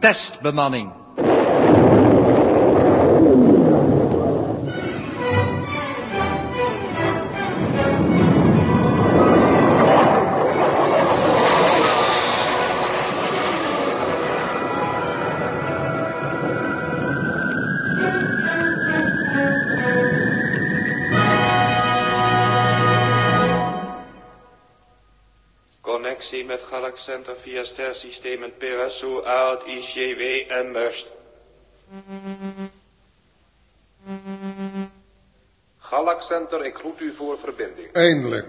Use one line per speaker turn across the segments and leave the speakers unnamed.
testbemanning.
Connectie met Galax Center via stersystemen Perasu, Aard, ICW en Must. Galax Center, ik groet u voor verbinding.
Eindelijk.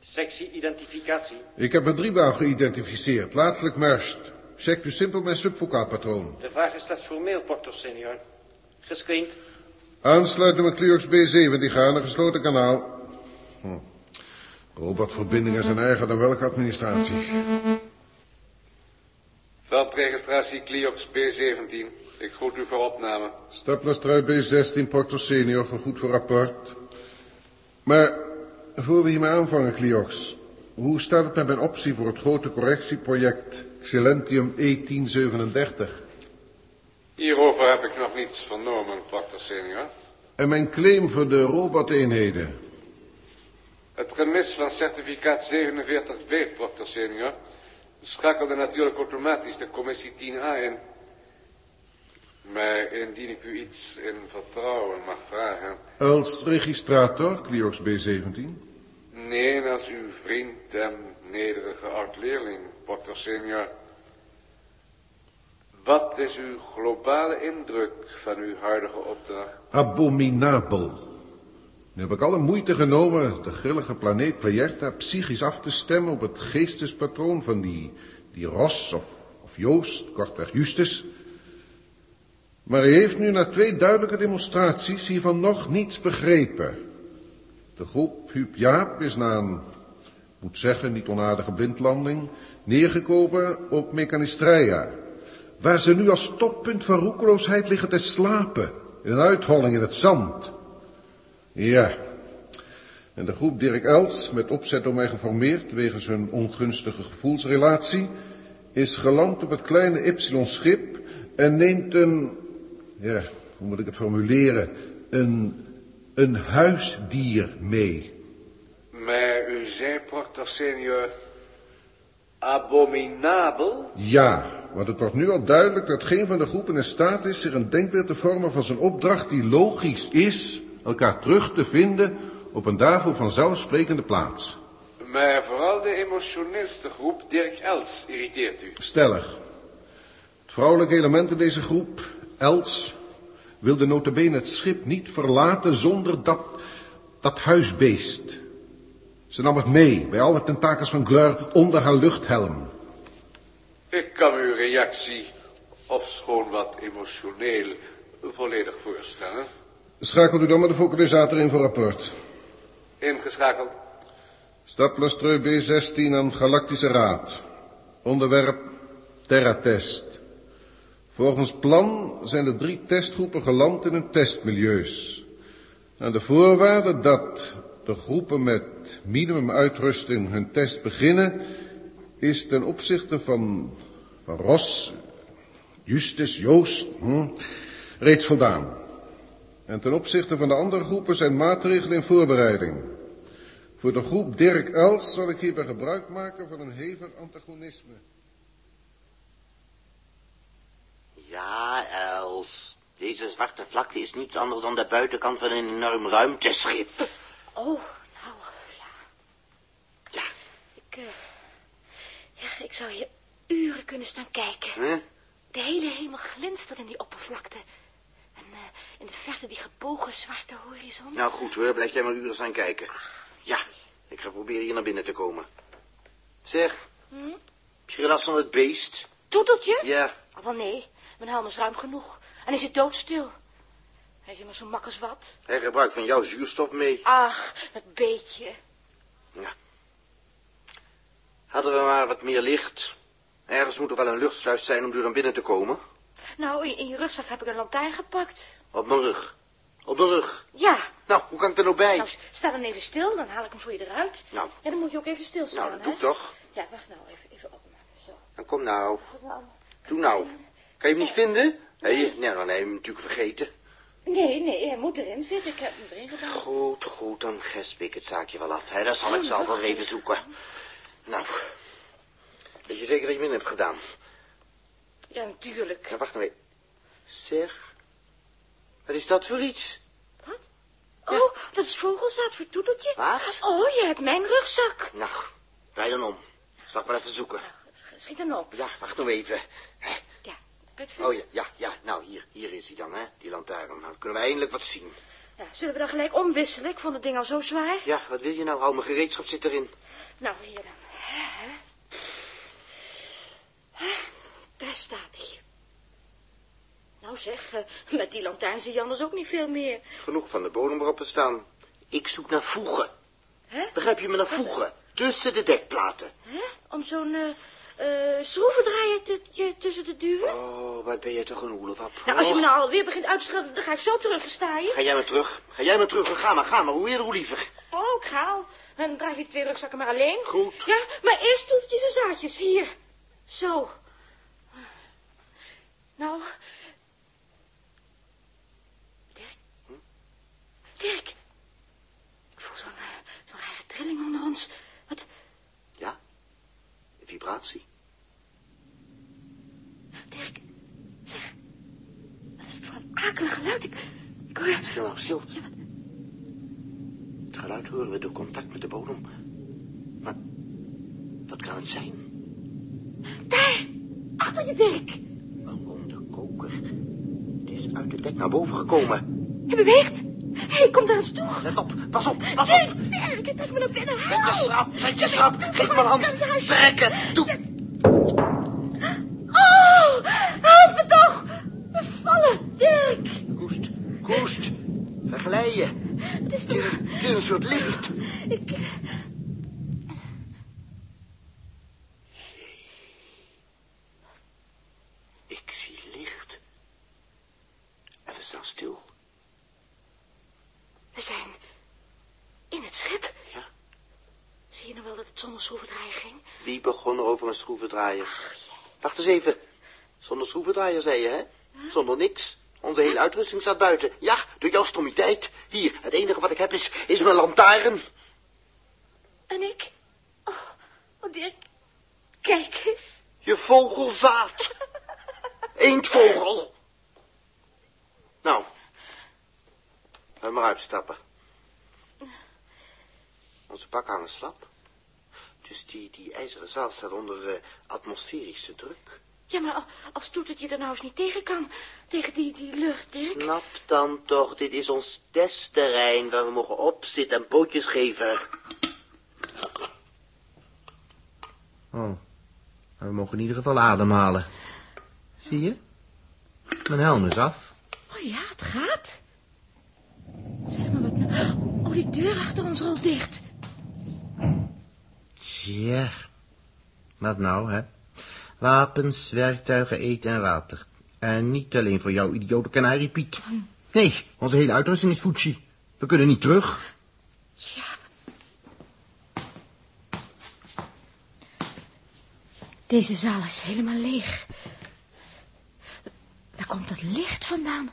Sectie identificatie.
Ik heb een driebaan geïdentificeerd, laatelijk merst. Check dus simpel mijn subvocaalpatroon.
De vraag is slechts formeel, Proctor Senior. Gescreend.
Aansluit nummer Cluox B7, die gaan naar gesloten kanaal. Hm. Robotverbindingen zijn erger dan welke administratie.
Veldregistratie Cliox B17. Ik groet u voor opname.
Staplestrui B16, Porto Senior, goed voor rapport. Maar, voor we hiermee aanvangen, Cliox... Hoe staat het met mijn optie voor het grote correctieproject E Xylentium E1037?
Hierover heb ik nog niets vernomen, Proctor Senior.
En mijn claim voor de roboteenheden?
Het gemis van certificaat 47B, Proctor Senior, schakelde natuurlijk automatisch de commissie 10A in. Maar indien ik u iets in vertrouwen mag vragen.
Als registrator, Cliox B17?
Nee, als uw vriend en nederige oud-leerling, Proctor Senior. Wat is uw globale indruk van uw huidige opdracht?
Abominabel. Nu heb ik alle moeite genomen de grillige planeet Plejerta psychisch af te stemmen op het geestespatroon van die, die Ros of, of Joost, kortweg Justus. Maar hij heeft nu na twee duidelijke demonstraties hiervan nog niets begrepen. De groep Huub Jaap is na een, moet zeggen, niet onaardige blindlanding, neergekomen op Mechanistria. Waar ze nu als toppunt van roekeloosheid liggen te slapen, in een uitholling in het zand. Ja. En de groep Dirk Els, met opzet door mij geformeerd wegens hun ongunstige gevoelsrelatie, is geland op het kleine Y-schip en neemt een, ja, hoe moet ik het formuleren, een, een huisdier mee.
Maar u zei, Proctor Senior, abominabel?
Ja, want het wordt nu al duidelijk dat geen van de groepen in staat is zich een denkbeeld te vormen van zijn opdracht die logisch is elkaar terug te vinden op een daarvoor vanzelfsprekende plaats.
Maar vooral de emotioneelste groep, Dirk Els, irriteert u.
Stellig. Het vrouwelijke element in deze groep, Els, wilde notabene het schip niet verlaten zonder dat, dat huisbeest. Ze nam het mee bij alle tentakels van Gleur onder haar luchthelm.
Ik kan uw reactie, ofschoon wat emotioneel, volledig voorstellen.
Schakelt u dan maar de focalisator in voor rapport.
Ingeschakeld.
Staplastreu B16 aan Galactische Raad. Onderwerp Terratest. Volgens plan zijn de drie testgroepen geland in hun testmilieus. Aan de voorwaarde dat de groepen met minimumuitrusting hun test beginnen, is ten opzichte van, van Ros, Justus, Joost, hm, reeds voldaan. En ten opzichte van de andere groepen zijn maatregelen in voorbereiding. Voor de groep Dirk Els zal ik hierbij gebruik maken van een hevig antagonisme.
Ja, Els. Deze zwarte vlakte is niets anders dan de buitenkant van een enorm ruimteschip.
Oh, nou, ja.
Ja,
Ik, eh, ja, ik zou hier uren kunnen staan kijken.
Huh?
De hele hemel glinstert in die oppervlakte. En eh, in de verte die gebogen zwarte horizon.
nou goed hoor, blijf jij maar uren staan kijken. Ja, ik ga proberen hier naar binnen te komen. Zeg, heb je last van het beest?
Toeteltje?
Ja,
Oh, wel nee, mijn helm is ruim genoeg. En hij zit doodstil. Hij is immers zo mak als wat.
hij gebruikt van jouw zuurstof mee.
Ach, dat beetje.
Ja. Hadden we maar wat meer licht. Ergens moet er wel een luchtsluis zijn om door naar binnen te komen.
Nou, in, in je rugzak heb ik een lantaarn gepakt.
Op mijn rug.
Op de rug.
Ja.
Nou, hoe kan ik er nou bij?
Nou, sta dan even stil, dan haal ik hem voor je eruit.
Nou.
Ja, dan moet je ook even stilstaan,
Nou, dat
hè?
doe ik toch.
Ja, wacht nou, even, even opmaken. Zo.
Nou, kom nou.
Goed, nou.
Doe nou. Kan je hem niet vinden? Nee, nee, dan heb je hem natuurlijk vergeten.
Nee, nee, hij moet erin zitten. Ik heb hem erin gedaan.
Goed, goed, dan gesp ik het zaakje wel af. Hè? Dat zal ik zelf wel even zoeken. Nou, weet je zeker dat je min hebt gedaan?
Ja, natuurlijk.
Ja, wacht nou even. Zeg, wat is dat voor iets?
Wat? Oh, dat is vogelzaad voor Toeteltje.
Wat?
Oh, je hebt mijn rugzak.
Nou, draai dan om. Zal ik maar even zoeken.
Nou, schiet dan op.
Ja, wacht nou even. Hè?
Ja, kun je het vinden?
Oh ja, ja, ja. Nou, hier, hier is hij dan, hè? Die lantaarn. Nou, dan kunnen we eindelijk wat zien.
Ja, Zullen we dan gelijk omwisselen? Ik vond het ding al zo zwaar.
Ja, wat wil je nou? Hou mijn gereedschap zit erin.
Nou, hier dan. Hè? Daar staat hij. Nou zeg, eh, met die lantaarn zie je anders ook niet veel meer.
Genoeg van de bodem waarop we staan. Ik zoek naar voegen.
Hè?
Begrijp je me?
nou
Naar voegen. Tussen de dekplaten.
Hè? Om zo'n eh, eh, schroevendraaier te- je tussen te duwen.
Oh, wat ben jij toch een hoelevap.
Nou, als je me
Och,
nou alweer begint uit te schelden, dan ga ik zo terug je.
Oh. Ga jij maar terug. Ga jij maar terug. Ga maar, ga maar. Hoe eerder, hoe liever.
Oh, ik ga al. Dan draag ik die twee rugzakken maar alleen.
Goed.
Ja, maar eerst toetjes en zaadjes. Hier. Zo. Nou. Dirk. Dirk. Ik voel zo'n eh, zo'n rare trilling onder ons. Wat?
Ja? Vibratie.
Dirk. Zeg. Wat is het voor een akelig geluid? Ik, ik hoor...
Stil nou, stil.
Ja, wat?
Het geluid horen we door contact met de bodem. Maar wat kan het zijn?
Daar. Achter je, Dirk.
Een ronde koker. Het is uit het dek naar boven gekomen.
Hij beweegt. Hé, hey, kom daar eens toe.
Let op. Pas op. Pas
Nee,
op.
nee, ik trek me naar binnen.
Zet je
Help!
schrap. Zet je
Ja,
schrap.
doe
Geef me
maar,
een hand.
kan het huis-
Trek het. Doe.
Oh, help me toch. We vallen, Dirk.
Koest. Koest. We glijden.
Het is
Het is,
toch...
het is een soort lift.
Ik...
Ik zie licht. En we staan stil.
We zijn in het schip.
Ja.
Zie je nou wel dat het zonder schroevendraaier ging?
Wie begon er over een schroevendraaier? Wacht eens even. Zonder schroevendraaier, zei je, hè? Zonder niks. Onze hele uitrusting staat buiten. Ja, door jouw stommiteit. Hier, het enige wat ik heb is, is mijn lantaarn.
En ik? Oh, oh Dirk. Kijk eens.
Je vogelzaad. Eendvogel. Nou, laat maar uitstappen. Onze pakken hangen slap. Dus die, die ijzeren zaal staat onder eh, atmosferische druk.
Ja, maar al- als toetertje er nou eens niet tegen kan. Tegen die, die lucht, Dirk.
Snap dan toch, dit is ons testterrein waar we mogen opzitten en pootjes geven. Oh, we mogen in ieder geval ademhalen. Zie je? Mijn helm is af.
Oh ja, het gaat. Zeg maar wat nou. Oh, die deur achter ons rolt dicht.
Tja. Wat nou, hè? Wapens, werktuigen, eten en water. En niet alleen voor jouw idiote kanariepiet. Nee, onze hele uitrusting is voetsie. We kunnen niet terug.
Ja. Deze zaal is helemaal leeg. Waar komt dat licht vandaan?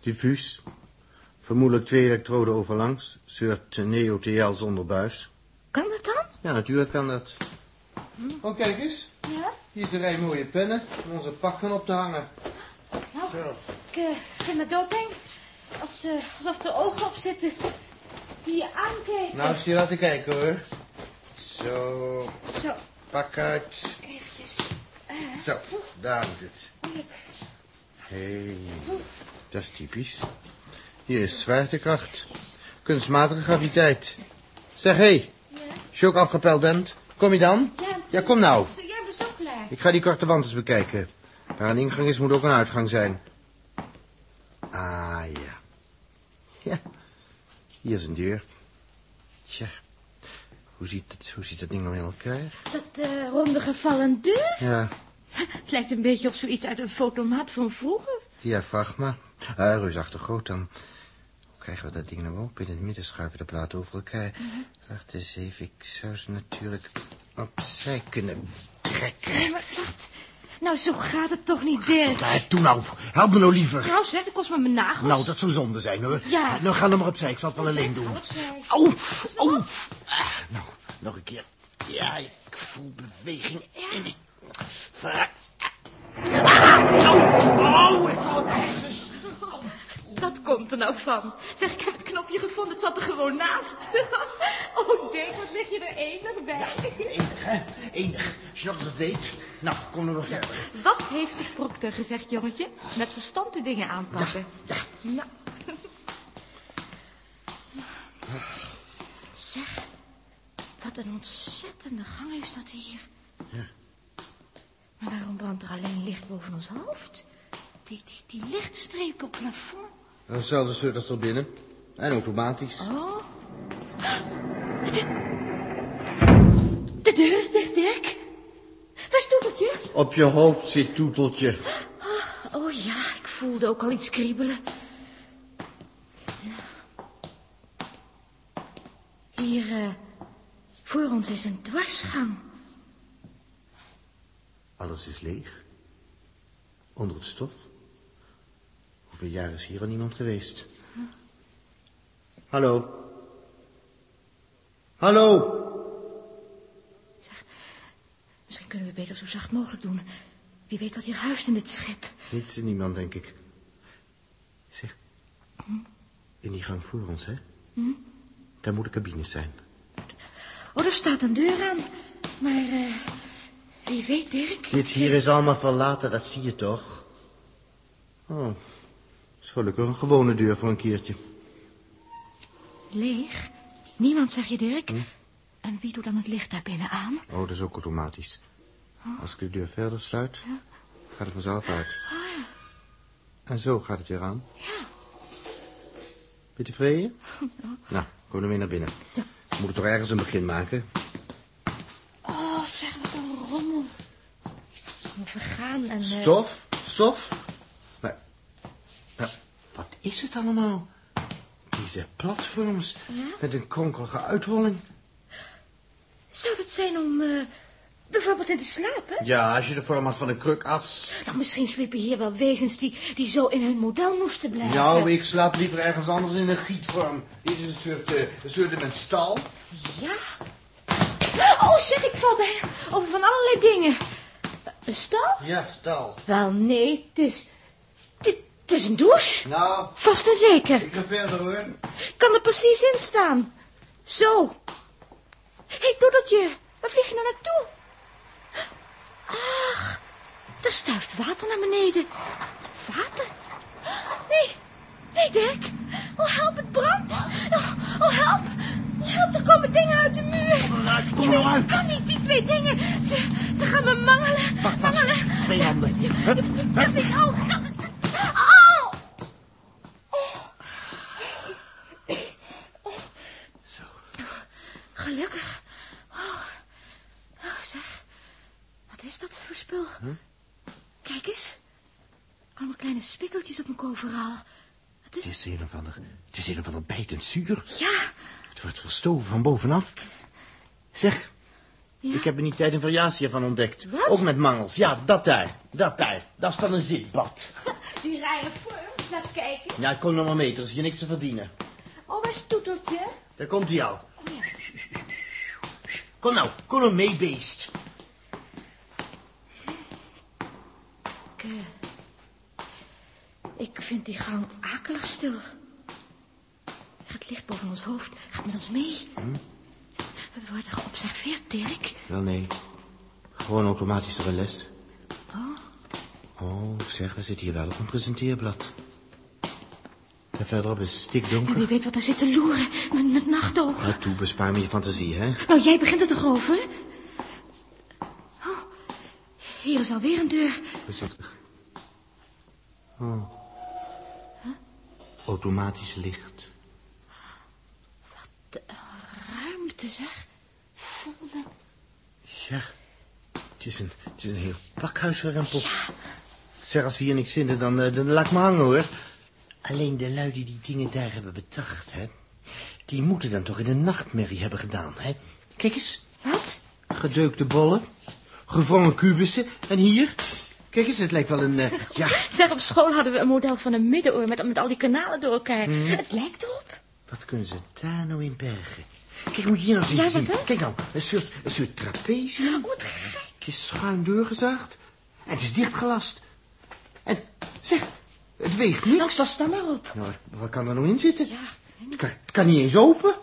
Diffuus. Vermoedelijk twee elektroden overlangs. Soort neo-TL zonder buis.
Kan dat dan?
Ja, natuurlijk kan dat.
Oh, kijk eens.
Ja.
Hier is een rij mooie pennen om onze pakken op te hangen.
Ik eh, vind me doodeng. Als, eh, alsof er ogen op zitten die je aankijken.
Nou, zie je laten kijken hoor. Zo,
Zo,
pak uit.
eventjes.
Zo, daar moet het.
Oh, ik-
Hé, dat is typisch. Hier is zwaartekracht. Kunstmatige graviteit. Zeg, hé, hey, als je ook afgepeld bent, kom je dan? Ja, kom nou.
Zo, jij bent zo klaar.
Ik ga die korte wand eens bekijken. Waar een ingang is, moet ook een uitgang zijn. Ah, ja. Ja, hier is een deur. Tja, hoe ziet, het, hoe ziet dat ding nou in elkaar?
Dat eh ronde gevallen deur.
Ja,
Het lijkt een beetje op zoiets uit een fotomaat van vroeger.
diafragma. Ah, reusachtig groot dan.
krijgen we dat ding nou ook binnen het midden schuiven de platen over elkaar.
Mhm.
Wacht eens even, ik zou ze natuurlijk opzij kunnen trekken.
Nee, maar wacht. Nou, zo gaat het toch niet, Dirk.
Ja, doe nou, help me nou liever.
Trouwens, hè, dat kost me mijn nagels.
Nou, dat zou zonde zijn, hoor.
Ja.
Nou, ga dan maar opzij. Ik zal het wel alleen doen.
opzij.
Au, au. Ah, Nou, nog een keer. Ja, ik voel beweging. En ik... Ver- Ah, au, au. Ik val op mijn hersens.
Dat komt er nou van. Zeg, ik heb het knopje gevonden. Het zat er gewoon naast. Oh, Dirk, wat lig je er enig bij.
Enig, hè? Enig. Als je nog eens het weet. Nou, kom nog verder.
Wat heeft de proctor gezegd, jongetje? Met verstand de dingen aanpakken.
Ja,
Nou. Zeg, wat een ontzettende gang is dat hier. Maar waarom brandt er alleen licht boven ons hoofd? Die, die, die lichtstrepen op het plafond.
dat is hetzelfde soort als er binnen. En automatisch.
Oh. De, de deur is dicht, Dirk. Waar is Toeteltje?
Op je hoofd zit toeteltje.
Oh ja, ik voelde ook al iets kriebelen. Hier, eh, voor ons is een dwarsgang.
Alles is leeg. Onder het stof. Hoeveel jaar is hier al niemand geweest?
Hm.
Hallo. Hallo.
Misschien kunnen we beter zo zacht mogelijk doen. Wie weet wat hier huist in dit schip.
Niets en niemand, denk ik. Zeg. In die gang voor ons, hè? Daar moeten cabines zijn.
Oh, er staat een deur aan. Maar, eh, wie weet, Dirk.
Dit hier is allemaal verlaten, dat zie je toch? Oh. Is gelukkig een gewone deur voor een keertje.
Leeg. Niemand, zeg je, Dirk.
Hm?
En wie doet dan het licht daar binnen aan?
Oh, dat is ook automatisch. Als ik de deur verder sluit, gaat het vanzelf uit. En zo gaat het weer aan. Ja. Ben je tevreden? Nou, kom dan weer naar binnen.
Ja.
We moeten toch ergens een begin maken?
Oh, zeg, wat een rommel. We vergaan en... eh,
Stof, stof. Maar, maar wat is het allemaal? Deze platforms met een kronkelige uitholling.
Zou dat zijn om eh, bijvoorbeeld in te slapen?
Ja, als je de vorm had van een krukas.
Nou, misschien sliepen hier wel wezens die, die zo in hun model moesten blijven.
Nou, ik slaap liever ergens anders in een gietvorm. Dit is een soort, eh, een soort met stal.
Ja. Oh, zeg, ik val bijna over van allerlei dingen. Een stal?
Ja, stal.
Wel, nee, het is... Het het is een douche.
Nou,
Vast en zeker.
ik ga verder hoor.
Kan er precies in staan. Zo. Hé, hey, Doedeltje, waar vlieg je nou naartoe? Ach, er stuift water naar beneden. Water? Nee, nee, Dirk. Oh, help, het brandt. Oh, oh, help. Oh, help, er komen dingen uit de muur. Kom eruit, kom eruit. Kan niet, die twee dingen. Ze, ze gaan me mangelen. Pak mangelen. twee handen. Hup, hup. Ik, oh, oh. Gelukkig. Oh. Oh, zeg. Wat is dat voor spul? Kijk eens. Allemaal kleine spikkeltjes op mijn overal. Het
Het
is...
is een of ander, het is een of ander bijtend zuur.
Ja,
Het wordt verstoven van bovenaf. Zeg,
Ja?
ik heb in die tijd een variatie van ontdekt.
Wat?
Ook met mangels. Ja, dat daar. Dat daar. Dat is dan een zitbad.
die rare vorm. Laat eens kijken.
Ja, kom nog maar mee, er is hier niks te verdienen.
Oh, waar is Toeteltje? Oh,
Daar komt hij al. Kom nou, kom nou mee, beest.
Ik, eh, ik vind die gang akelig stil. Zeg, het licht boven ons hoofd gaat met ons mee. We worden geobserveerd, Dirk.
Wel, nee. Gewoon automatisch door een les. Oh, zeg, we zitten hier wel op een presenteerblad. Daar verderop is het
En
stikdonker.
wie weet wat er zit te loeren met, met nachtogen.
Ga toe, bespaar me je fantasie, hè?
Nou, jij begint er toch over? Oh, hier is alweer een deur.
Voorzichtig. Oh. Automatisch licht.
De ruimte, zeg. Vol met...
Ja. Het is een, het is een heel pakhuisrempel. Zeg, als we hier niks vinden, dan, eh, dan laat ik me hangen, hoor. Alleen de lui die die dingen daar hebben bedacht, hè? Die moeten dan toch in een nachtmerrie hebben gedaan, hè? Kijk eens.
Wat?
Gedeukte bollen, gevrongen kubussen en hier... Kijk eens, het lijkt wel een... eh, ja,
Zeg, op school hadden we een model van een middenoor met, met al die kanalen door elkaar.
Hm.
Het lijkt erop.
wat kunnen ze daar nou in bergen? Kijk, moet je hier nou eens
Ja,
even
wat,
zien.
hè?
Kijk nou, een soort, een soort trapezium.
Oh, Wat gek.
Het is schuin doorgezaagd. En het is dichtgelast. En zeg, het weegt
Nou,
niks.
pas dan maar op.
Nou, wat- wat kan er nou in zitten?
Ja.
Het kan, het kan niet eens open.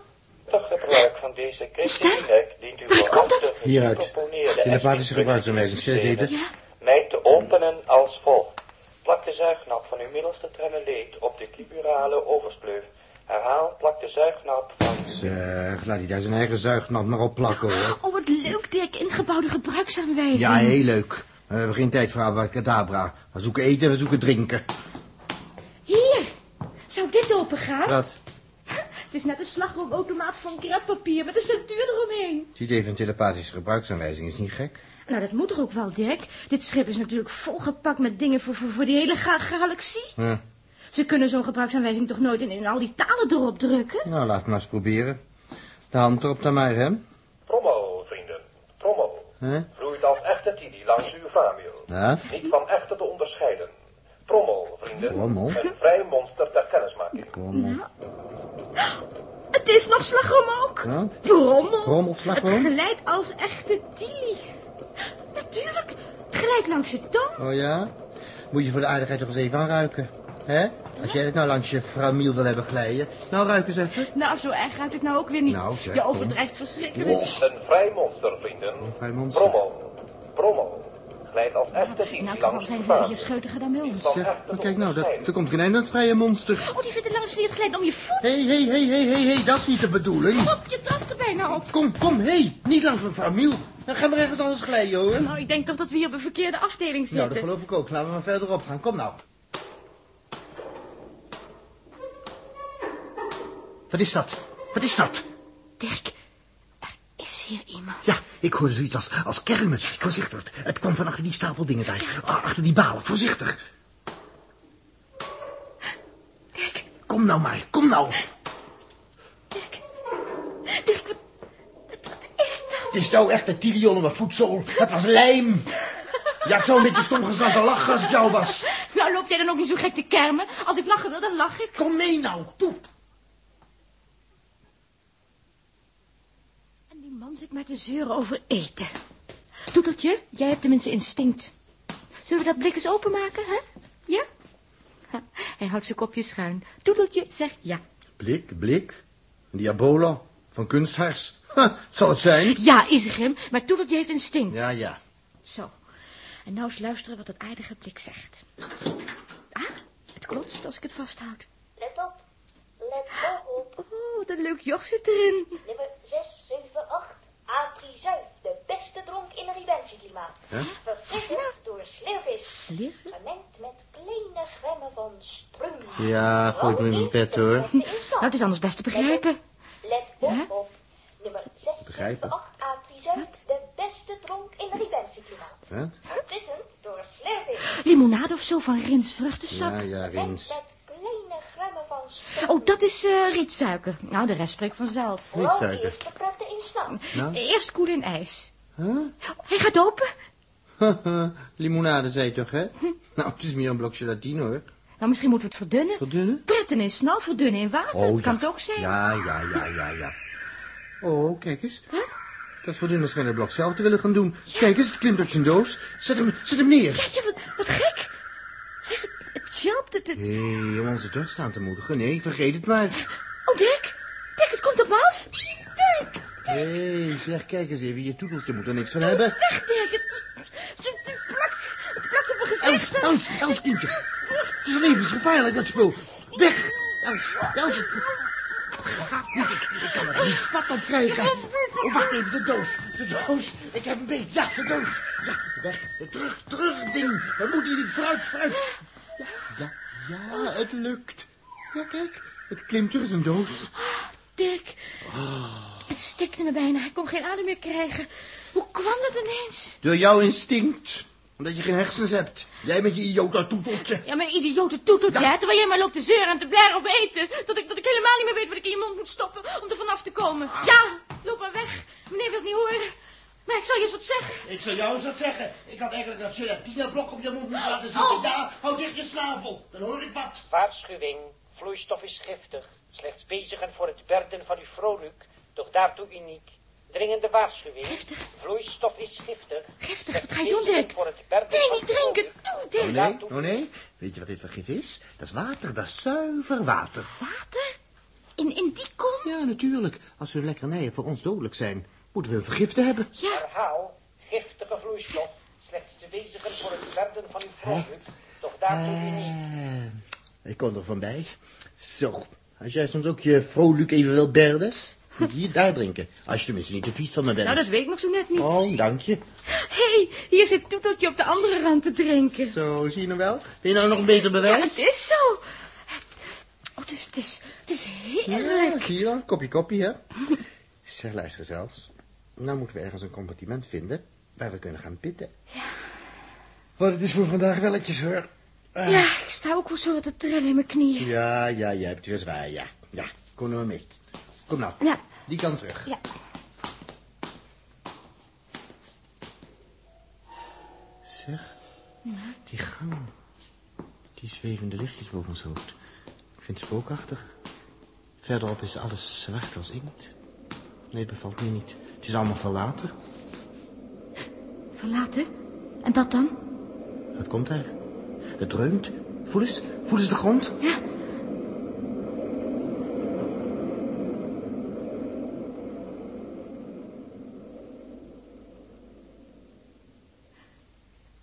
Toch gebruik van deze
Stem?
kritiek dient u
Waaruit
vooral
komt dat?
de
Hieruit.
gecomponeerde
Telepathische gebruiksaanwijzing,
expliciete
zes even.
Ja.
mij te openen als volgt. Plak de zuignap van uw middelste tremeleet op de kiburale overspleuf. Herhaal, plak de zuignap van uw
Zeg, laat hij daar zijn eigen zuignat maar op plakken, hoor.
Oh, wat leuk, Dirk. Ingebouwde gebruiksaanwijzing.
Ja, heel leuk. We hebben geen tijd voor abacadabra. We zoeken eten, we zoeken drinken.
Hier. Zou dit open gaan?
Wat?
Het is net een slagroomautomaat van kreppapier met een centuur eromheen.
Het idee van telepathische gebruiksaanwijzing is niet gek.
Nou, dat moet er ook wel, Dirk. Dit schip is natuurlijk volgepakt met dingen voor, voor, voor die hele ga- galaxie.
Ja.
Ze kunnen zo'n gebruiksaanwijzing toch nooit in, in al die talen erop drukken?
Nou, laat maar eens proberen. De hand erop dan maar, hè?
Promo, vrienden. Promo.
Hè?
Vloeit als echte tidi langs uw famio.
Wat?
Niet van echte te onderscheiden. Promo, vrienden.
Promo?
Een vrij monster ter kennismaking.
Het is nog slagroom ook.
Wat?
Brommel.
Rommelslagroom?
Het glijdt als echte tili. Natuurlijk. Het glijdt langs je tong.
Oh ja? Moet je voor de aardigheid toch eens even aanruiken. Hè? Als jij het nou langs je framiel wil hebben glijden. Nou, ruik eens even.
Nou, zo erg ruikt het nou ook weer niet.
Nou, zeg,
je
kom.
overdrijft verschrikkelijk.
Een vrij monster, vrienden.
Een vrij monster.
Promo. Promo. Glijdt als echte tidi
Nou, toch
langs
zijn
uw
ze
famio.
je scheutiger dan bij ons.
Zeg, maar kijk nou, dat, er komt geen eind aan het vrije monster.
Oh, die vindt het langs niet het glijdt om je voet.
Hé, hé, hé, hé, hé, hé, dat is niet de bedoeling.
Op, je trapt er bijna op.
Kom, kom, hé, niet langs mijn framiel. Dan gaan we ergens anders glijden, hoor.
Nou, ik denk toch dat we hier op een verkeerde afdeling
Nou, dat
zitten.
geloof ik ook. Laten we maar verderop gaan. Kom nou. Wat is dat? Wat is dat?
Dirk, er is hier iemand.
Ja, ik hoorde zoiets als, als kermen. Voorzichtig. Het kwam van achter die stapel dingen daar. Ah, Achter die balen. Voorzichtig.
Dirk,
Kom nou maar. Kom nou.
Dirk. Dirk, wat, wat, wat is dat?
Het is nou echt een tirion op mijn voetzool. Dat was lijm. Je had zo'n beetje stom gestaan te lachen als ik jou was.
Nou, loop jij dan ook niet zo gek te kermen? Als ik lachen wil, dan lach ik.
Kom mee nou. Toe.
En die man zit maar te zeuren over eten. Toeteltje, jij hebt tenminste instinct. Zullen we dat blik eens openmaken, hè? Ja? Ha, Hij houdt zijn kopje schuin. Toeteltje zegt ja.
Blik, blik. Diabolo van kunsthars. Ha, zal het zijn?
Ja, Isegrim, maar Toeteltje heeft instinct.
Ja, ja.
Zo. En nou eens luisteren wat dat aardige blik zegt. Ah, het klotst als ik het vasthoud.
Let op. Let wel op.
Oh, wat een leuk joch zit erin.
Nummer 678. Atrizuif. De beste dronk in een ribentieklimaat.
nou?
Vergiftigd door sleervis.
Slir?
Gemengd met kleine gremmen van strum.
Ja, gooi me in mijn bed, hoor.
Nou, het is anders best te begrijpen.
Let
Ja?
op op. Nummer 678. Atrizuif. De beste dronk in een ribentieklimaat.
Wat?
Verfrissend door sleervis.
Limonade of zo van Rins vruchtensap.
Ja, ja,
Gemengd
Rins.
met kleine gremmen van strum.
Oh, dat is eh, rietsuiker. Nou, de rest spreekt vanzelf.
Niet
Vooral
suiker.
eerst de prettig in stand.
nou?
Eerst koel in ijs. Oh, Hij gaat open.
Limonade zei je toch, hè? Nou, het is meer een blok gelatine, hoor.
Nou, misschien moeten we het verdunnen.
Verdunnen? Oh,
Pretten in snel, verdunnen in water. dat kan het ook zijn.
Ja, ja, ja, ja, ja. Oh, kijk eens.
Wat?
Dat verdunner schijnt het blok zelf te willen gaan doen. Kijk eens, het klimt uit zijn doos. Zet hem, zet hem neer.
Ja, ja, wat, wat gek. Zeg, het, het sjelpt het. het.
Hé, om onze dorst aan te moedigen. Nee, vergeet het maar.
Oh, Dirk. Dirk, het komt op me af. Dirk,
Hé, zeg, kijk eens even. Je toeteltje moet er niks van hebben.
weg, Dirk. Het, het, het plakt, het plakt op mijn
Els,
gezicht.
Els, Els, kindje. Het is levensgevaarlijk, dat spul. Weg! Els, Els. Het gaat niet. Ik, ik kan er geen vat op krijgen. Oh, wacht even, de doos. De doos. Ik heb een beetje. Ja, de doos. Ja, weg. Terug, terug, ding. We moeten hier vooruit, vooruit. Ja, ja, ja, het lukt. Ja, kijk. Het klimt er is een doos.
Dirk, het stikte me bijna. Ik kon geen adem meer krijgen. Hoe kwam dat ineens?
Door jouw instinct. Omdat je geen hersens hebt. Jij met je idiota toeteltje.
Ja, mijn idiote toetelt, hè? Terwijl jij maar loopt te zeuren en te blaren op eten. Dat ik, dat ik helemaal niet meer weet wat ik in je mond moet stoppen om er vanaf te komen. Ja, loop maar weg. Meneer wil het niet horen. Maar ik zal je eens wat zeggen.
Ik zou jou eens wat zeggen. Ik had eigenlijk dat gelatinablok op je mond moeten laten zitten.
Oh.
Daar, hou dicht je snavel. Dan hoor ik wat.
Waarschuwing, vloeistof is giftig. Slechts bezigen voor het berden van uw vrolijk, doch daartoe uniek. Dringende waarschuwing.
Giftig?
Vloeistof is giftig.
Giftig?
Slechts
Wat ga je doen,
bezigen
Dirk?
voor het berden
Nee,
van
niet
uw
drinken.
vrolijk,
Toe,
doch
Dirk.
Oh nee,
daartoe
oh nee. Weet je wat dit voor gif is? Dat is water, dat is zuiver water.
Water? In, in die kom?
Ja, natuurlijk. Als hun lekkernijen voor ons dodelijk zijn, moeten we hun vergiften hebben.
Ja.
Herhaal, giftige vloeistof. Slechts te bezigen voor het berden van uw vrolijk, doch daartoe uniek.
Eh, ik kon er van bij. Zo, als jij soms ook je vrolijk even wilt berdes, moet je hier daar drinken. Als je tenminste niet te vies van me bent.
Nou, dat weet ik nog zo net niet.
Oh, dank je.
Hé, hey, hier zit Toeteltje op de andere rand te drinken.
Zo, zie je nou wel? Ben je nou nog een beter
Ja,
bewijs?
het is zo. Het- Oh, dus het is, het is heerlijk.
Ja, zie je wel? Kopje koppie, hè? zeg, luister zelfs. Nou moeten we ergens een compartiment vinden waar we kunnen gaan pitten. Ja. Wat het is voor vandaag welletjes, hoor.
Ja, ik sta ook wel zo wat te trillen in mijn knieën.
Ja, ja, jij hebt weer zwaar, ja. Ja, kom nou maar mee. Kom nou.
Ja.
Die kant terug.
Ja.
Zeg, die gang. Die zwevende lichtjes boven ons hoofd. Ik vind het spookachtig. Verderop is alles zwart als inkt. Nee, het bevalt me niet. Het is allemaal verlaten.
Verlaten? En dat dan?
Wat komt daar? Het dreunt. Voel eens, voel eens de grond.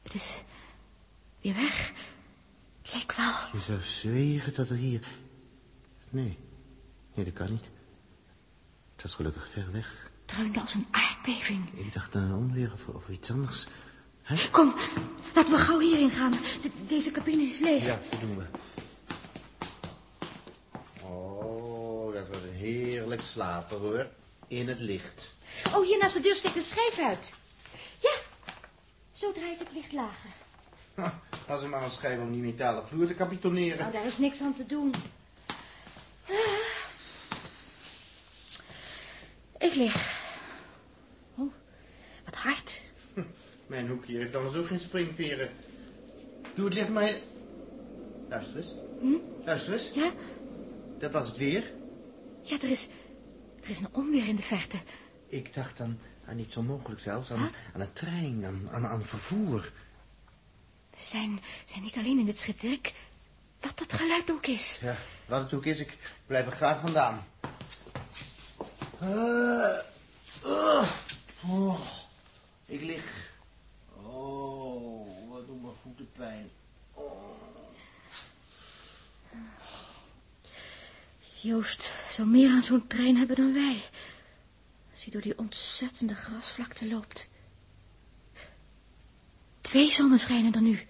Het is weer weg. Het leek wel.
Je zou zweren dat er hier... Nee, nee, dat kan niet. Het was gelukkig ver weg.
Het dreunde als een aardbeving.
Ik dacht aan een onweer of, of iets anders. Hè?
Kom, laten we gauw hierin gaan. De- deze cabine is leeg.
Ja, dat doen we. Oh, dat was een heerlijk slapen, hoor. In het licht.
Oh, hier naast de deur steekt een schijf uit. Ja, zo draai ik het licht lager.
Als er maar een schijf om die metalen vloer te kapitoneren.
Nou, daar is niks aan te doen. Ah. Ik lig. Oh, wat hard.
Mijn hoek hier heeft anders ook geen springveren. Doe het licht maar... Luister eens. Luister eens.
Hm? Ja,
Dat was het weer.
ja er, is, er is een onweer in de verte.
Ik dacht aan, aan iets onmogelijks zelfs. Aan,
Wat?
aan een trein, aan, aan, aan vervoer.
We zijn, zijn niet alleen in dit schip, Dirk. Wat dat geluid ook is.
Ja, wat het ook is, ik blijf er graag vandaan. Eh, eh, oh, ik lig.
Oh, wat doen mijn voeten pijn.
Joost zou meer aan zo'n trein hebben dan wij. Als hij door die ontzettende grasvlakte loopt. Twee zonnen schijnen er nu.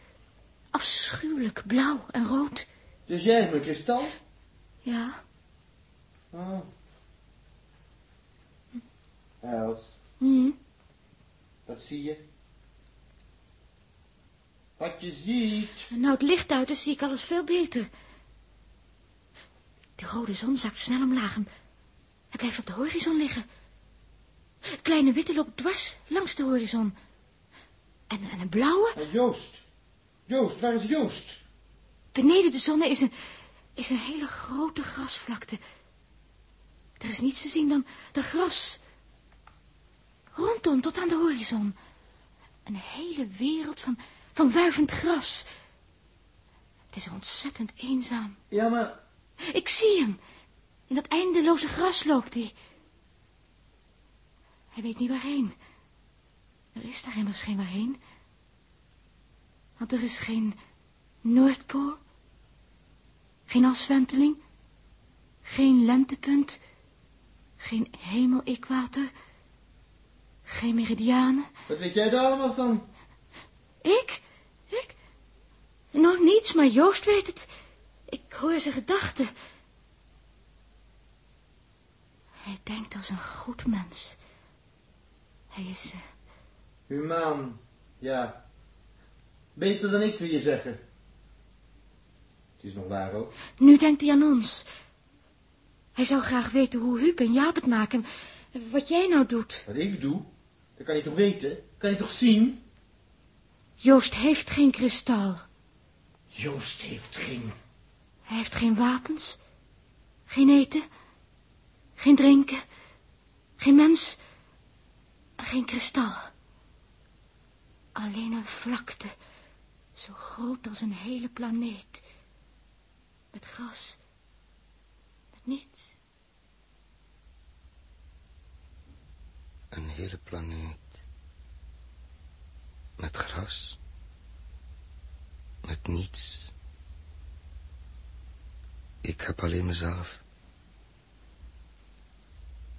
Afschuwelijk blauw en rood.
Dus jij hebt een kristal?
Ja,
Oh. Els,
hm.
wat zie je? Wat je ziet.
En nou het licht uit is, zie ik alles veel beter. De rode zon zakt snel omlaag en hij blijft op de horizon liggen. Kleine witte loopt dwars langs de horizon. En, en een blauwe,
Ah,
Eh, Joost. Joost, waar is Joost?
beneden de zon, is een, is een hele grote grasvlakte. Er is niets te zien dan, dan gras. Rondom, tot aan de horizon. Een hele wereld van, van wuivend gras. Het is ontzettend eenzaam.
Ja, maar...
Ik zie hem. In dat eindeloze gras loopt hij. Hij weet niet waarheen. Er is daar immers geen waarheen. Want er is geen Noordpool. Geen afwenteling. Geen lentepunt. Geen hemel-equator. Geen meridianen.
Wat weet jij daar allemaal van?
Ik? Ik? Nog niets, maar Joost weet het. Ik hoor zijn gedachten. Hij denkt als een goed mens. Hij is... eh,
Humaan. Ja.
Beter dan ik, wil je zeggen. Het is nog waar ook.
Nu denkt hij aan ons. Hij zou graag weten hoe Huub en Jaap het maken. Wat jij nou doet.
Wat ik doe, dat kan hij toch weten? Kan hij toch zien?
Joost heeft geen kristal.
Joost heeft geen...
Hij heeft geen wapens. Geen eten. Geen drinken. Geen mens. Geen kristal. Alleen een vlakte. Zo groot als een hele planeet. Met gras. Met niets.
Een hele planeet. Met gras. Met niets. Ik heb alleen mezelf.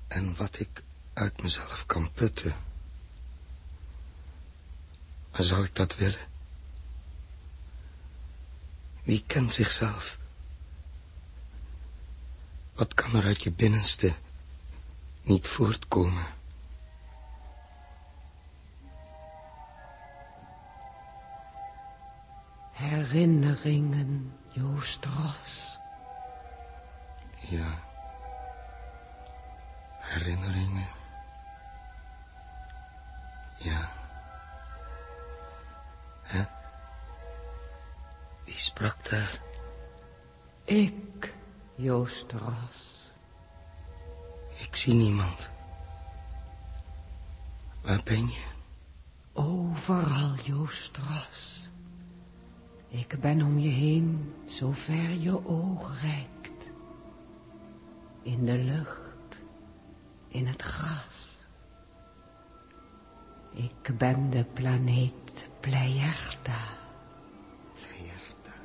En wat ik uit mezelf kan putten. Maar zou ik dat willen? Wie kent zichzelf? Wat kan er uit je binnenste niet voortkomen?
Herinneringen, Joost Ros.
Ja. Herinneringen. Ja. Hè? Wie sprak daar?
Ik, Joost Ros.
Ik zie niemand. Waar ben je?
Overal, Joost Ros. Ik ben om je heen, zover je oog reikt. In de lucht, in het gras. Ik ben de planeet Plejerta.
Leerta.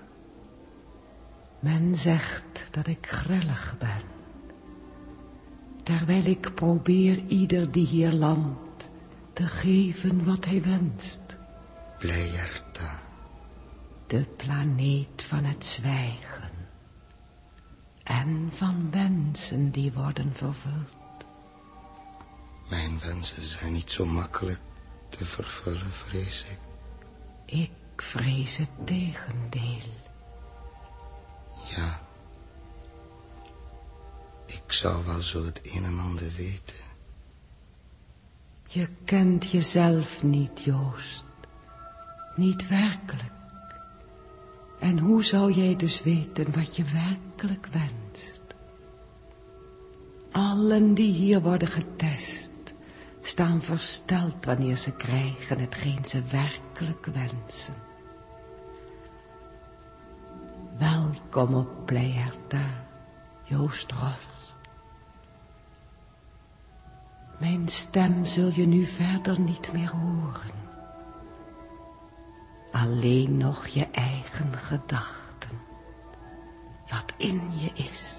Men zegt dat ik grillig ben. Terwijl ik probeer ieder die hier landt te geven wat hij wenst.
Plejerta.
De planeet van het zwijgen. En van wensen die worden vervuld.
Mijn wensen zijn niet zo makkelijk te vervullen, vrees ik.
Ik vrees het tegendeel.
Ja. Ik zou wel zo het een en ander weten.
Je kent jezelf niet, Joost. Niet werkelijk. En hoe zou jij dus weten wat je werkelijk wenst? Allen die hier worden getest, staan versteld wanneer ze krijgen hetgeen ze werkelijk wensen. Welkom op Pleierta, Joost Ros. Mijn stem zul je nu verder niet meer horen. Alleen nog je eigen gedachten. Wat in je is.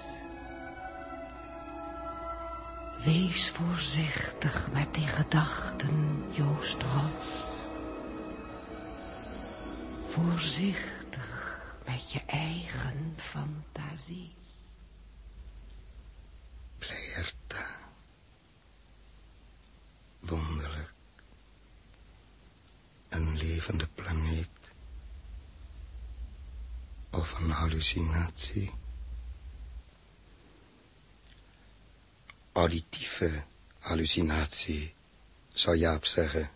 Wees voorzichtig met die gedachten, Joost Ros. Voorzichtig met je eigen fantasie.
Pleerta. Wonderlijk. Een levende planeet. Of een hallucinatie. Auditieve hallucinatie, zou Jaap zeggen.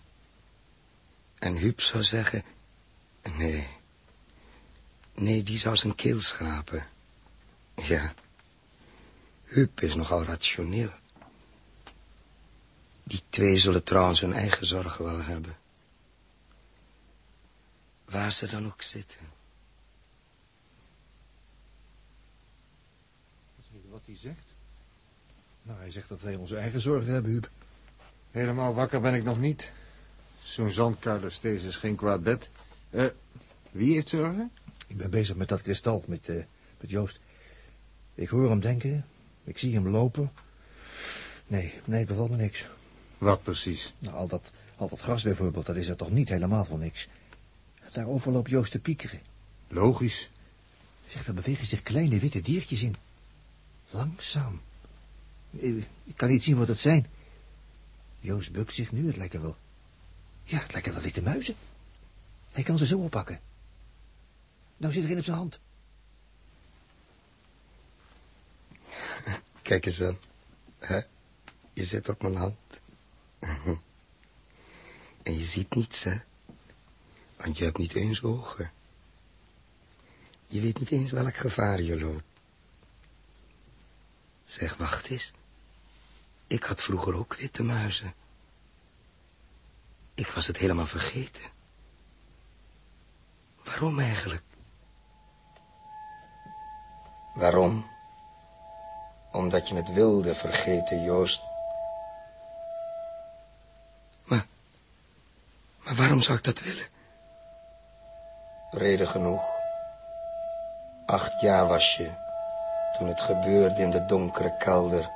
En Huub zou zeggen... Nee. Nee, die zou zijn keel schrapen. Ja. Huub is nogal rationeel. Die twee zullen trouwens hun eigen zorgen wel hebben. Waar ze dan ook zitten.
Wat weet je wat hij zegt? Nou, hij zegt dat wij onze eigen zorgen hebben, Huub. Helemaal wakker ben ik nog niet. Zo'n zandkuil als deze is geen kwaad bed. Eh, wie heeft zorgen?
Ik ben bezig met dat kristal, met, eh, met Joost. Ik hoor hem denken, ik zie hem lopen. Nee, nee, het bevalt me niks.
Wat precies?
Nou, al dat, al dat gras bijvoorbeeld, dat is er toch niet helemaal voor niks. Daarover loopt Joost te piekeren.
Logisch.
Zeg, daar bewegen zich kleine witte diertjes in. Langzaam. Ik ik kan niet zien wat het zijn. Joost bukt zich nu, het lijken wel... Ja, het lijken wel witte muizen. Hij kan ze zo oppakken. Nou zit er een op zijn hand.
Kijk eens aan. Hè? Je zit op mijn hand. En je ziet niets, hè? Want je hebt niet eens ogen. Je weet niet eens welk gevaar je loopt. Zeg, wacht eens. Ik had vroeger ook witte muizen. Ik was het helemaal vergeten. Waarom eigenlijk? Waarom? Omdat je het wilde vergeten, Joost. Maar, maar waarom zou ik dat willen? Reden genoeg. Acht jaar was je toen het gebeurde in de donkere kelder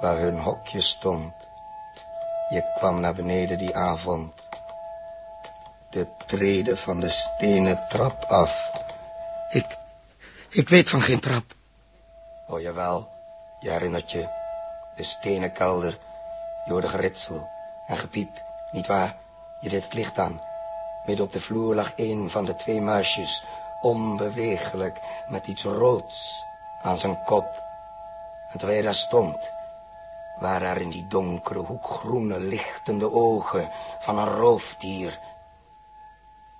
waar hun hokje stond. Je kwam naar beneden die avond. De treden van de stenen trap af. Ik, ik weet van geen trap. Oh jawel, je herinnert je. De stenen kelder. Je hoorde geritsel en gepiep, nietwaar? Je deed het licht aan. Midden op de vloer lag een van de twee muisjes, onbeweeglijk, met iets roods aan zijn kop. En terwijl je daar stond, waren er in die donkere hoek groene lichtende ogen van een roofdier.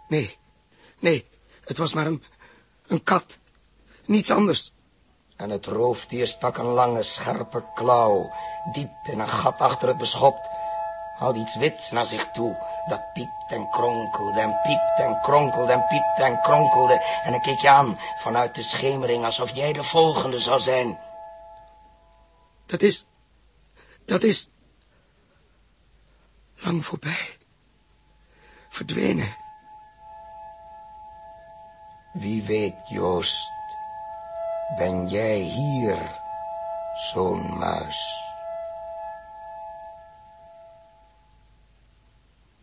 Nee, nee, het was maar een, een kat, niets anders. En het roofdier stak een lange, scherpe klauw, diep in een gat achter het beschopt. Haalde iets wits naar zich toe, dat piept en kronkelde en piept en kronkelde en piept en kronkelde. En dan keek je aan vanuit de schemering alsof jij de volgende zou zijn. Dat is, dat is lang voorbij. Verdwenen. Wie weet, Joost, ben jij hier, zo'n muis?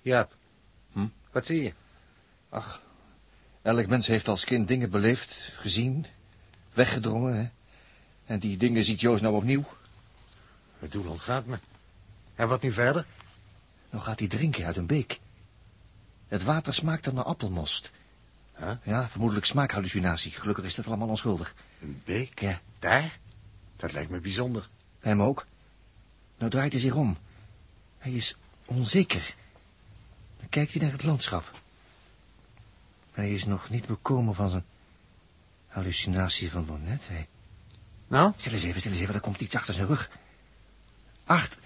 Jaap, wat zie je? Hm? Ach, elk mens heeft als kind dingen beleefd, gezien, weggedrongen, hè? En die dingen ziet Joost nou opnieuw.
Het doel ontgaat me. En wat nu verder?
Nou gaat hij drinken uit een beek. Het water smaakt dan naar appelmost. Ja, vermoedelijk smaakhallucinatie. Gelukkig is dat allemaal onschuldig.
Een beek?
Ja.
Daar? Dat lijkt me bijzonder.
Hem ook. Nou draait hij zich om. Hij is onzeker. Dan kijkt hij naar het landschap. Hij is nog niet bekomen van zijn hallucinatie van daarnet. Hij...
Nou?
Stil eens even, stil eens even. Er komt iets achter zijn rug. Achter...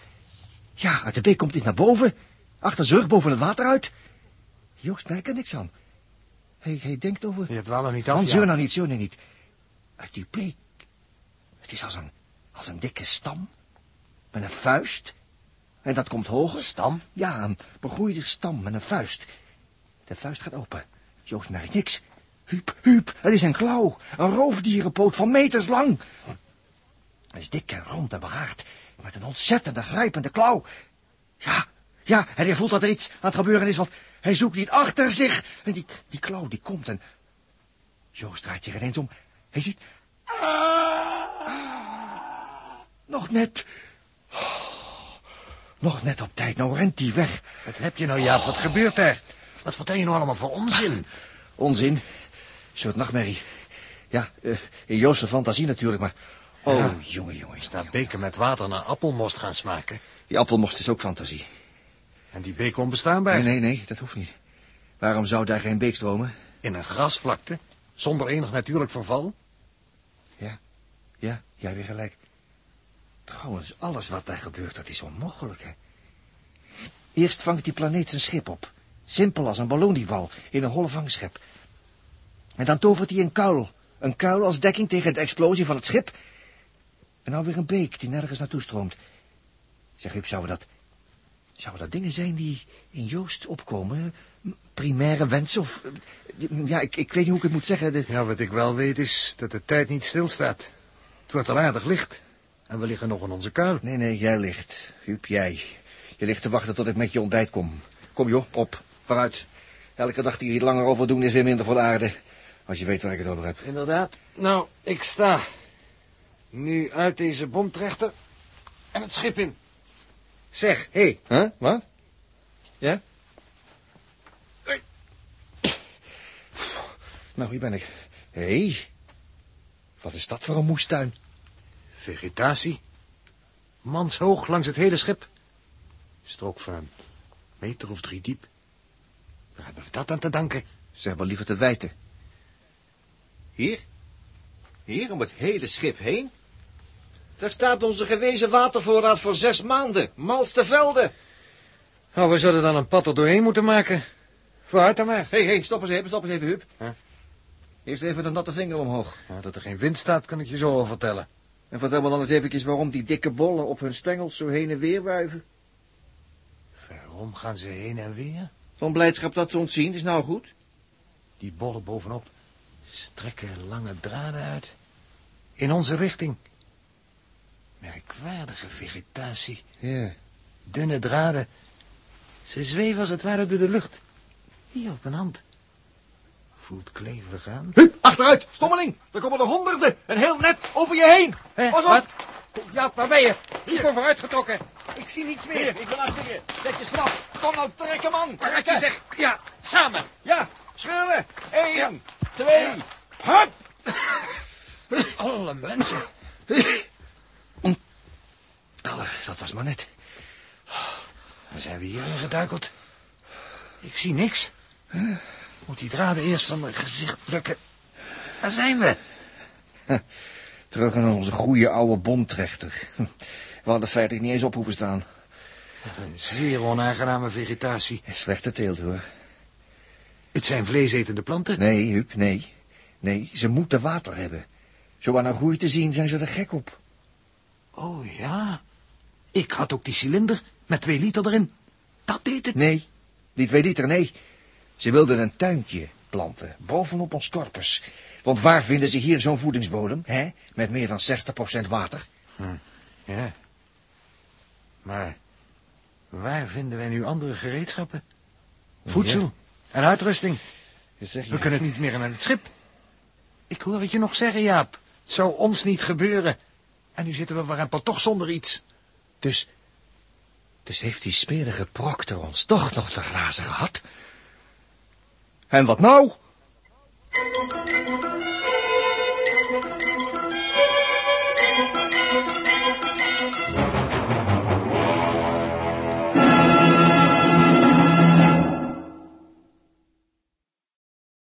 Ja, uit de beek komt iets naar boven. Achter zijn rug, boven het water uit. Joost merkt er niks aan. Hij, hij denkt over...
Je dwaalt niet af,
Want
ja.
zeur nou niet, zeur nou niet. Uit die beek. Het is als een, als een dikke stam. Met een vuist. En dat komt hoger.
Stam?
Ja, een begroeide stam met een vuist. De vuist gaat open. Joost merkt niks. Hup, hup, het is een klauw. Een roofdierenpoot van meters lang. Hij is dik en rond en behaard. Met een ontzettende grijpende klauw. Ja, ja, en hij voelt dat er iets aan het gebeuren is, want hij zoekt niet achter zich. En die, die klauw die komt en... Joost draait zich ineens om. Hij ziet... Ah, Nog net. Nog net op tijd. Nou rent hij weg.
Wat heb je nou, Jaap? Wat gebeurt er? Wat vertel je nou allemaal voor onzin?
Onzin. Een soort nachtmerrie. Ja, eh, in Joost's fantasie natuurlijk, maar... Oh,
Ja.
jongen, jongen, jongen.
Is dat beken met water naar appelmost gaan smaken?
Die appelmost is ook fantasie.
En die beek onbestaanbaar?
Nee, nee, nee, dat hoeft niet. Waarom zou daar geen beek stromen?
In een grasvlakte? Zonder enig natuurlijk verval?
Ja, ja, jij weer gelijk. Trouwens, alles wat daar gebeurt, dat is onmogelijk, hè. Eerst vangt die planeet zijn schip op. Simpel als een balloniebal in een holle vangschep. En dan tovert hij een kuil. Een kuil als dekking tegen de explosie van het schip. En nou weer een beek die nergens naartoe stroomt. Zeg, Huub, zouden dat... Zouden dat dingen zijn die in Joost opkomen? M- Primaire wensen of... Ja, ik, ik weet niet hoe ik het moet zeggen. De-
Ja, wat ik wel weet is dat de tijd niet stilstaat. Het wordt al aardig licht. En we liggen nog in onze kuil.
Nee, nee, jij ligt. Huub, jij. Je ligt te wachten tot ik met je ontbijt kom. Kom, joh, op. Vooruit. Elke dag die hier langer over doen is weer minder voor de aarde. Als je weet waar ik het over heb.
Inderdaad. Nou, ik sta. Nu uit deze bomtrechter. En het schip in. Zeg, hé.
Huh? Wat?
Ja?
Nou, hier ben ik. Hé, wat is dat voor een moestuin?
Vegetatie. Manshoog langs het hele schip. Strook van meter of drie diep. Waar hebben we dat aan te danken?
Ze hebben liever te wijten. Hier? Hier om het hele schip heen? Daar staat onze gewezen watervoorraad voor zes maanden. Malste velden.
Nou, we zullen dan een pad er doorheen moeten maken. Vooruit dan maar.
Hé, hey, hey, stop eens even, stop eens even, Huub. Eerst even de natte vinger omhoog.
Nou, dat er geen wind staat, kan ik je zo al vertellen.
En vertel me dan eens eventjes waarom die dikke bollen op hun stengels zo heen en weer wuiven.
Waarom gaan ze heen en weer?
Zo'n blijdschap dat ze ons zien is nou goed.
Die bollen bovenop strekken lange draden uit. In onze richting. Merkwaardige vegetatie.
Ja.
Dunne draden. Ze zweven als het ware door de lucht. Hier op een hand. Voelt kleverig aan.
Huub, achteruit, stommeling. Er komen er honderden. En heel net over je heen.
Hé,
Pas op.
wat? Ja, waar ben je?
Hier.
Ik ben vooruitgetrokken. Ik zie niets meer.
Hier, ik ben achter je. Zet je snap. Kom nou, trekken, man.
Waar je zeg, ja, samen.
Ja, scheuren. Eén, twee, hup.
Alle mensen.
Nou, dat was maar net.
Dan zijn we hierin geduikeld. Ik zie niks. Moet die draden eerst van mijn gezicht plukken. Waar zijn we?
Terug aan onze goede oude bondrechter. We hadden feitelijk niet eens op hoeven staan.
Een zeer onaangename vegetatie.
Slechte teelt, hoor.
Het zijn vleesetende planten.
Nee, Huub, nee. Nee, ze moeten water hebben. Zo aan haar groei te zien zijn ze er gek op.
Oh ja. Ik had ook die cilinder met twee liter erin. Dat deed het.
Nee, die twee liter, nee. Ze wilden een tuintje planten, bovenop ons korpus. Want waar vinden ze hier zo'n voedingsbodem, hè? Met meer dan 60% water.
Hm, Ja. Maar waar vinden wij nu andere gereedschappen? Voedsel en uitrusting.
Zeg
We kunnen niet meer naar het schip. Ik hoor het je nog zeggen, Jaap. Het zou ons niet gebeuren. En nu zitten we waarempel toch zonder iets.
Dus, dus heeft die smerige proctor ons toch nog te grazen gehad? En wat nou?